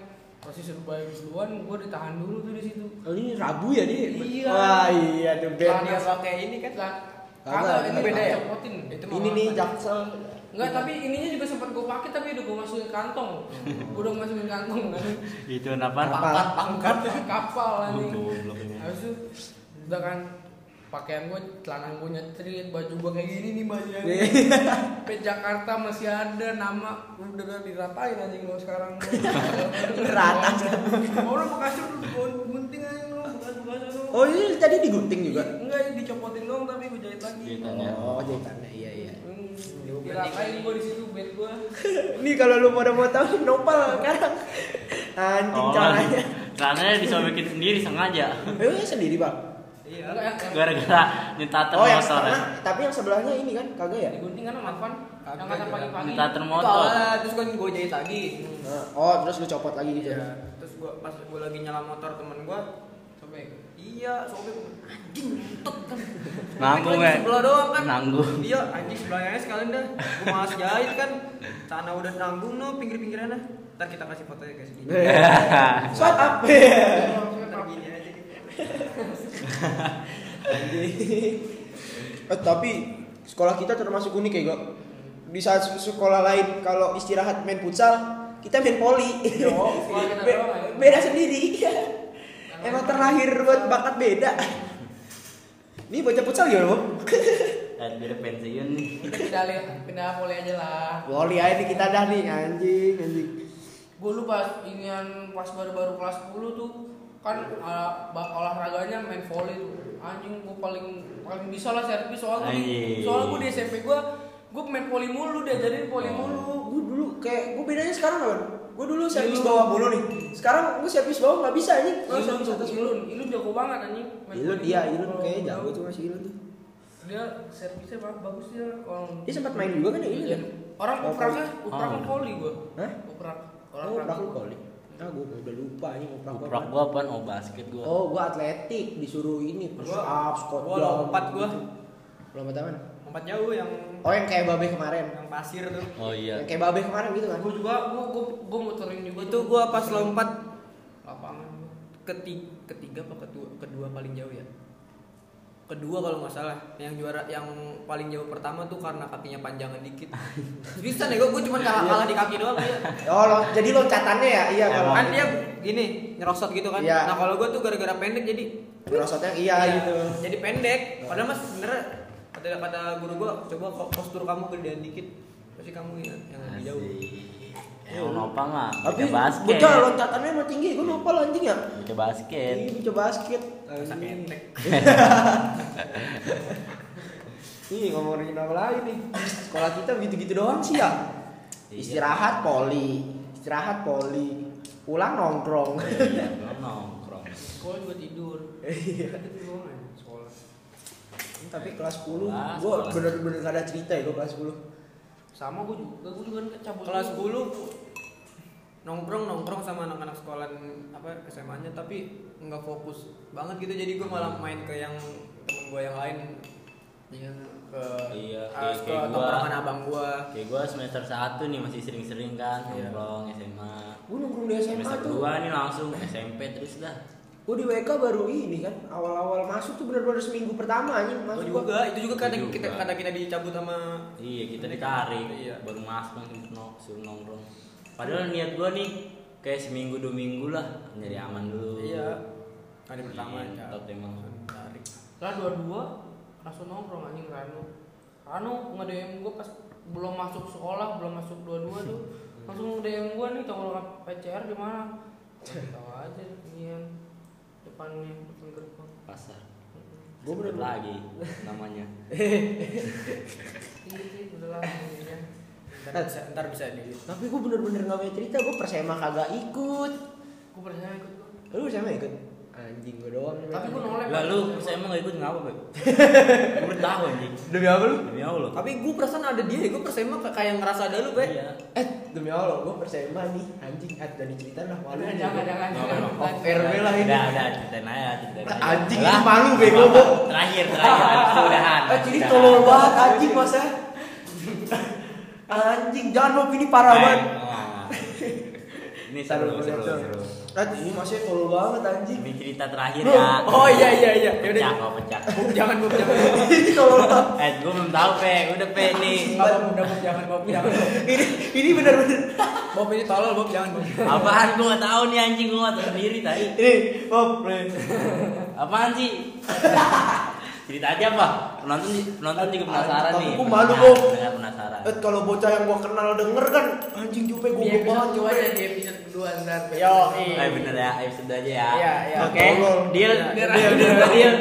Speaker 4: Rosi suruh balik duluan gue ditahan dulu tuh di situ
Speaker 3: ini Rabu ya dia?
Speaker 4: Iya.
Speaker 3: Wah, iya tuh Ben.
Speaker 4: Celana
Speaker 2: pakai ini kan
Speaker 4: Lah,
Speaker 3: Kagak,
Speaker 4: kagak ini
Speaker 3: ini
Speaker 4: beda ya?
Speaker 3: ya? Ini nih Jaksel.
Speaker 4: Enggak, tapi ininya juga sempat gue pakai tapi udah gue masukin kantong. Gua udah masukin kantong kan.
Speaker 1: Itu kenapa?
Speaker 3: Pangkat,
Speaker 4: Pangkat kapal anjing.
Speaker 1: Goblok ini.
Speaker 4: Habis itu udah kan pakaian gue celana gue nyetrit baju gue kayak gini nih baju Pe Jakarta masih ada nama udah udah diratain anjing lo sekarang
Speaker 3: Rata.
Speaker 4: orang bekasi udah gunting anjing lo bekas bekasi lo
Speaker 3: Oh, ini tadi digunting juga.
Speaker 4: enggak ini dicopotin doang tapi gue jahit lagi
Speaker 1: Jahitannya.
Speaker 3: Oh, jahitannya. Iya, iya.
Speaker 4: Hmm, diratain gue di situ bed gue
Speaker 3: Ini kalau lu pada mau tahu nopal sekarang. Anjing
Speaker 1: Oh,
Speaker 3: caranya.
Speaker 1: celananya disobekin sendiri sengaja.
Speaker 3: Eh, lu sendiri, Bang.
Speaker 4: iya enggak yang-
Speaker 1: Gara-gara nyetater
Speaker 3: Oh, yang
Speaker 1: motor.
Speaker 3: setengah, tapi yang sebelahnya ini kan kagak ya?
Speaker 4: digunting kan sama Afan yang kata
Speaker 2: Kagak,
Speaker 4: pagi-pagi
Speaker 1: Nyetater
Speaker 2: Itu
Speaker 1: motor.
Speaker 2: awalnya, terus kan gue jahit lagi
Speaker 3: Nah, Oh, terus lu copot lagi gitu.
Speaker 2: Iya, terus gua pas gua lagi nyala motor temen gua,
Speaker 4: sobek
Speaker 2: iya sobek anjing ngentot kan.
Speaker 1: Nanggung
Speaker 2: Lagi
Speaker 1: ya.
Speaker 2: Sebelah doang kan.
Speaker 1: Nanggung.
Speaker 2: Iya, anjing sebelahnya aja sekalian dah. Gua malas jahit kan. Sana udah nanggung no pinggir-pinggiran dah. Ntar kita kasih fotonya guys di.
Speaker 3: Iya. Shut up.
Speaker 2: Ntar gini aja.
Speaker 3: Eh, tapi sekolah kita termasuk unik ya, Go. Di saat se- sekolah lain kalau istirahat main futsal, kita main poli.
Speaker 4: Yo, sekolah kita
Speaker 3: Be-
Speaker 4: doang ya.
Speaker 3: beda sendiri. Emang terlahir buat bakat beda. Ini bocah futsal ya, Bang?
Speaker 1: Dan beda Eh, pensiun nih.
Speaker 4: kita pindah li- pindah poli aja lah
Speaker 3: Poli aja nih kita dah nih, anjing, anjing.
Speaker 4: gue lu pas inian pas baru-baru kelas 10 tuh kan uh, ba- olahraganya main volley tuh anjing gue paling paling bisa lah servis soalnya gua di
Speaker 1: Anjing.
Speaker 4: soalnya gue di SMP gue gue main volley mulu diajarin volley
Speaker 1: Oh.
Speaker 4: mulu
Speaker 3: Gue dulu kayak gue bedanya sekarang kan. Gue dulu servis
Speaker 4: Ilun.
Speaker 3: bawah mulu nih. Sekarang gue servis bawah nggak bisa anjing. Gue
Speaker 4: Ilun,
Speaker 3: servis atas mulu.
Speaker 4: Ilun, Ilun jago banget anjing. main
Speaker 3: Ilun
Speaker 4: volley.
Speaker 3: iya, Ilun kayaknya jago cuma si Ilun tuh.
Speaker 4: dia servisnya ba- bagus dia orang
Speaker 3: Dia sempat main juga kan ya ini kan?
Speaker 4: orang
Speaker 3: Oh,
Speaker 4: upraknya upraknya
Speaker 1: Oh.
Speaker 4: volley gua
Speaker 3: Hah?
Speaker 4: uprak orang
Speaker 3: Oh,
Speaker 4: uprak
Speaker 3: Prak lu kali. Ah, gua udah lupa ini mau Prak
Speaker 1: Kuprak gua apaan? Oh basket gua.
Speaker 3: Oh, gua atletik disuruh ini push
Speaker 2: Gua-
Speaker 3: up, squat gitu.
Speaker 2: Gua lompat gua.
Speaker 3: Lompat apa?
Speaker 2: Lompat jauh yang
Speaker 3: Oh, yang kayak babe kemarin.
Speaker 2: yang pasir tuh.
Speaker 1: Oh iya.
Speaker 3: Yang kayak babe kemarin gitu kan.
Speaker 4: gua juga gua gua gua muterin juga
Speaker 2: Itu
Speaker 4: tuh.
Speaker 2: gua pas lompat
Speaker 4: lapangan gua.
Speaker 2: ketiga, ketiga apa kedua, kedua paling jauh ya. Kedua kalau nggak salah, yang juara yang paling jauh pertama tuh karena kakinya panjangan dikit. Bisa nih gua, gua cuma kalah kalah di kaki doang. Iya.
Speaker 3: Oh, lo, jadi loncatannya ya? Iya,
Speaker 1: Emang.
Speaker 3: kalau
Speaker 2: Kan dia gini nyerosot gitu kan.
Speaker 3: Iya.
Speaker 2: Nah kalau gua tuh gara-gara pendek jadi
Speaker 3: merosotnya iya
Speaker 2: Iya,
Speaker 3: gitu.
Speaker 2: Jadi pendek. Padahal mas sebenarnya kata kata guru gua coba kok postur kamu gedean dikit. Pasti kamu yang yang lebih jauh.
Speaker 1: Emang nopang lah.
Speaker 3: Tapi
Speaker 1: Baca basket.
Speaker 3: bocah loncatannya emang tinggi, gua lupa lo anjing ya.
Speaker 1: Baca basket.
Speaker 3: Ini bocah basket.
Speaker 2: Masa ketek.
Speaker 3: Ih, ngomongin apa lagi nih? Sekolah kita gitu-gitu doang sih ya.
Speaker 1: Iya.
Speaker 3: Istirahat poli, istirahat poli, pulang nongkrong.
Speaker 1: Iya, gua nongkrong.
Speaker 4: sekolah juga tidur
Speaker 3: Iya.
Speaker 4: Itu gua main sekolah
Speaker 3: Tapi kelas 10
Speaker 1: Kelas,
Speaker 3: gua
Speaker 1: kelas.
Speaker 3: bener-bener gak ada cerita ya gua kelas 10.
Speaker 4: sama gua juga gua juga kan cabut
Speaker 2: Kelas
Speaker 4: dulu.
Speaker 2: 10 nongkrong nongkrong sama anak-anak sekolah apa SMA-nya tapi nggak fokus banget gitu jadi gua malah main ke yang temen gua yang lain yang ke
Speaker 1: Iya,
Speaker 2: ah,
Speaker 1: kayak-
Speaker 2: ke
Speaker 1: kayak gua.
Speaker 2: tongkrongan abang gua
Speaker 1: Kayak gua semester 1 nih masih sering-sering kan
Speaker 2: Iya.
Speaker 1: nongkrong SMA.
Speaker 3: Gua nongkrong di SMA
Speaker 1: Semester
Speaker 3: tuh.
Speaker 1: 2 nih langsung SMP terus dah.
Speaker 3: Gua di WK baru ini kan, awal-awal masuk tuh bener-bener seminggu pertama anjing
Speaker 2: Gua
Speaker 3: masuk gua.
Speaker 2: juga itu juga kadang
Speaker 1: Gua
Speaker 2: kita
Speaker 1: juga.
Speaker 2: kadang kita dicabut sama
Speaker 1: Iya, kita ditarik.
Speaker 2: Iya.
Speaker 1: Baru masuk langsung no- suruh nongkrong. Padahal niat gua nih kayak seminggu dua minggu lah nyari aman dulu.
Speaker 2: iya kali pertama
Speaker 1: Iya, tetap emang.
Speaker 2: tarik
Speaker 4: kelas dua dua langsung nongkrong anjing Rano Rano nge DM gue pas belum masuk sekolah belum masuk dua dua tuh langsung nge DM gue nih tongkrongan PCR di mana Nggak tahu aja iya depannya depan gerbang
Speaker 1: Pasar.
Speaker 3: Gua
Speaker 1: Gua
Speaker 3: bener-
Speaker 1: lagi namanya.
Speaker 4: iya sih udah lama ya
Speaker 2: ntar bisa ntar bisa di
Speaker 3: Tapi gue bener-bener gak punya cerita, gue persema kagak ikut
Speaker 4: gue percaya ikut gua.
Speaker 3: Lu persema ikut? Anjing gue doang
Speaker 4: tapi gue nolak
Speaker 1: Lalu saya emang gak ikut ngapa, Beb? Gua baru tahu anjing.
Speaker 3: Demi apa lu?
Speaker 1: Demi Allah.
Speaker 2: tapi gue perasaan ada dia gue persema kayak- kayak ngerasa ada lu be
Speaker 1: Iya.
Speaker 3: Eh, demi Allah, gue persema nih Anjing, eh, udah diceritain lah malu
Speaker 4: jangan
Speaker 3: nih.
Speaker 4: jangan jangan
Speaker 1: Nggak, nggak, nggak.
Speaker 3: Off air gue lah ini
Speaker 1: Udah, udah, ceritain aja, ceritain aja.
Speaker 3: Nah, Anjing,
Speaker 1: Lah,
Speaker 3: malu bego
Speaker 1: apa-apa.
Speaker 3: gue
Speaker 1: Terakhir, terakhir, habis itu udahan.
Speaker 4: Eh,
Speaker 3: Ah, jadi
Speaker 1: Udahan.
Speaker 3: tolol banget anjing masa
Speaker 4: ya.
Speaker 3: Anjing, jangan mau ini parah
Speaker 1: Eh,
Speaker 3: banget
Speaker 1: oh. Ini seru, seru, seru.
Speaker 3: Anjing, ini masih tolol banget anjing
Speaker 1: Ini cerita terakhir
Speaker 2: Lu-
Speaker 1: ya.
Speaker 2: oh iya iya iya
Speaker 1: Pecah,
Speaker 2: yaudah
Speaker 1: kok pecah.
Speaker 2: Bob, jangan bob jangan Bob.
Speaker 3: Ini tolol banget
Speaker 1: Eh, gue belum tahu, Pe. Udah, Pe, nih.
Speaker 2: Nggak, bob udah bob jangan bob jangan Bob.
Speaker 3: Ini, ini bener-bener
Speaker 2: bob ini tolol bob jangan bob
Speaker 1: Apaan? Gue gak tahu nih, anjing. Gue gak tahu sendiri, tadi.
Speaker 3: Ini, Bob, nih.
Speaker 1: Apaan sih? cerita aja apa? Penonton, penonton juga penasaran
Speaker 3: Tapi
Speaker 1: nih.
Speaker 3: gua malu,
Speaker 1: Pendengar-
Speaker 3: Bob.
Speaker 1: pendengar penasaran.
Speaker 3: Eh kalau bocah yang gua kenal denger kan anjing Jupe
Speaker 4: Di
Speaker 3: goblok banget Jupe.
Speaker 4: episode kedua Iya, aja, di episode kedua ntar.
Speaker 2: Yo, iya.
Speaker 1: Eh, bener ya, episode aja ya.
Speaker 2: Iya, iya.
Speaker 1: Oke,
Speaker 3: Tolol.
Speaker 1: deal,
Speaker 4: Iya,
Speaker 1: deal,
Speaker 4: iya,
Speaker 1: deal, deal.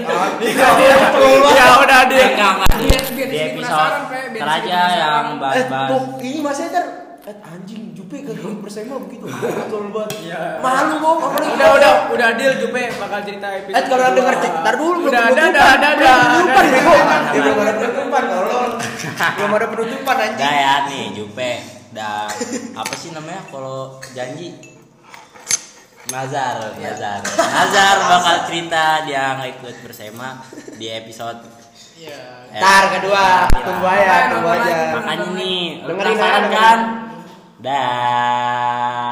Speaker 3: Ya udah
Speaker 1: Enggak, enggak, deal.
Speaker 4: Biar- biar
Speaker 1: Di
Speaker 4: sedikit
Speaker 1: episode
Speaker 4: penasaran, Pe. Biar
Speaker 1: ntar aja
Speaker 4: sedikit
Speaker 1: yang
Speaker 4: penasaran.
Speaker 3: Eh
Speaker 1: bahas-bahas.
Speaker 3: Bob, ini masih ter Eh anjing Jupe ke grup bersama begitu. Betul banget.
Speaker 2: Iya.
Speaker 3: Malu Bob, apalagi
Speaker 2: udah udah udah deal jupe bakal cerita episode
Speaker 3: Eh kalau
Speaker 2: kedua. Iya,
Speaker 3: denger cek, ntar dulu belum
Speaker 2: udah ada
Speaker 3: penutupan.
Speaker 2: ada ada ada
Speaker 3: Belum penutupan
Speaker 2: ada.
Speaker 3: bego. Ya,
Speaker 2: iya.
Speaker 3: belum ada penutupan tolong. Belum ada penutupan
Speaker 1: Udah
Speaker 3: anjing.
Speaker 1: ya nih Jupe dan apa sih namanya kalau janji Nazar, Nazar, Nazar bakal cerita dia nggak ikut bersama di episode
Speaker 4: Iya.
Speaker 1: eh,
Speaker 3: Tar kedua,
Speaker 1: iya.
Speaker 3: tunggu aja,
Speaker 4: Makanya,
Speaker 3: tunggu aja.
Speaker 4: makanya.
Speaker 1: Makanya nih, lu
Speaker 3: Dengerin
Speaker 1: penasaran
Speaker 3: aja,
Speaker 1: kan? Dah.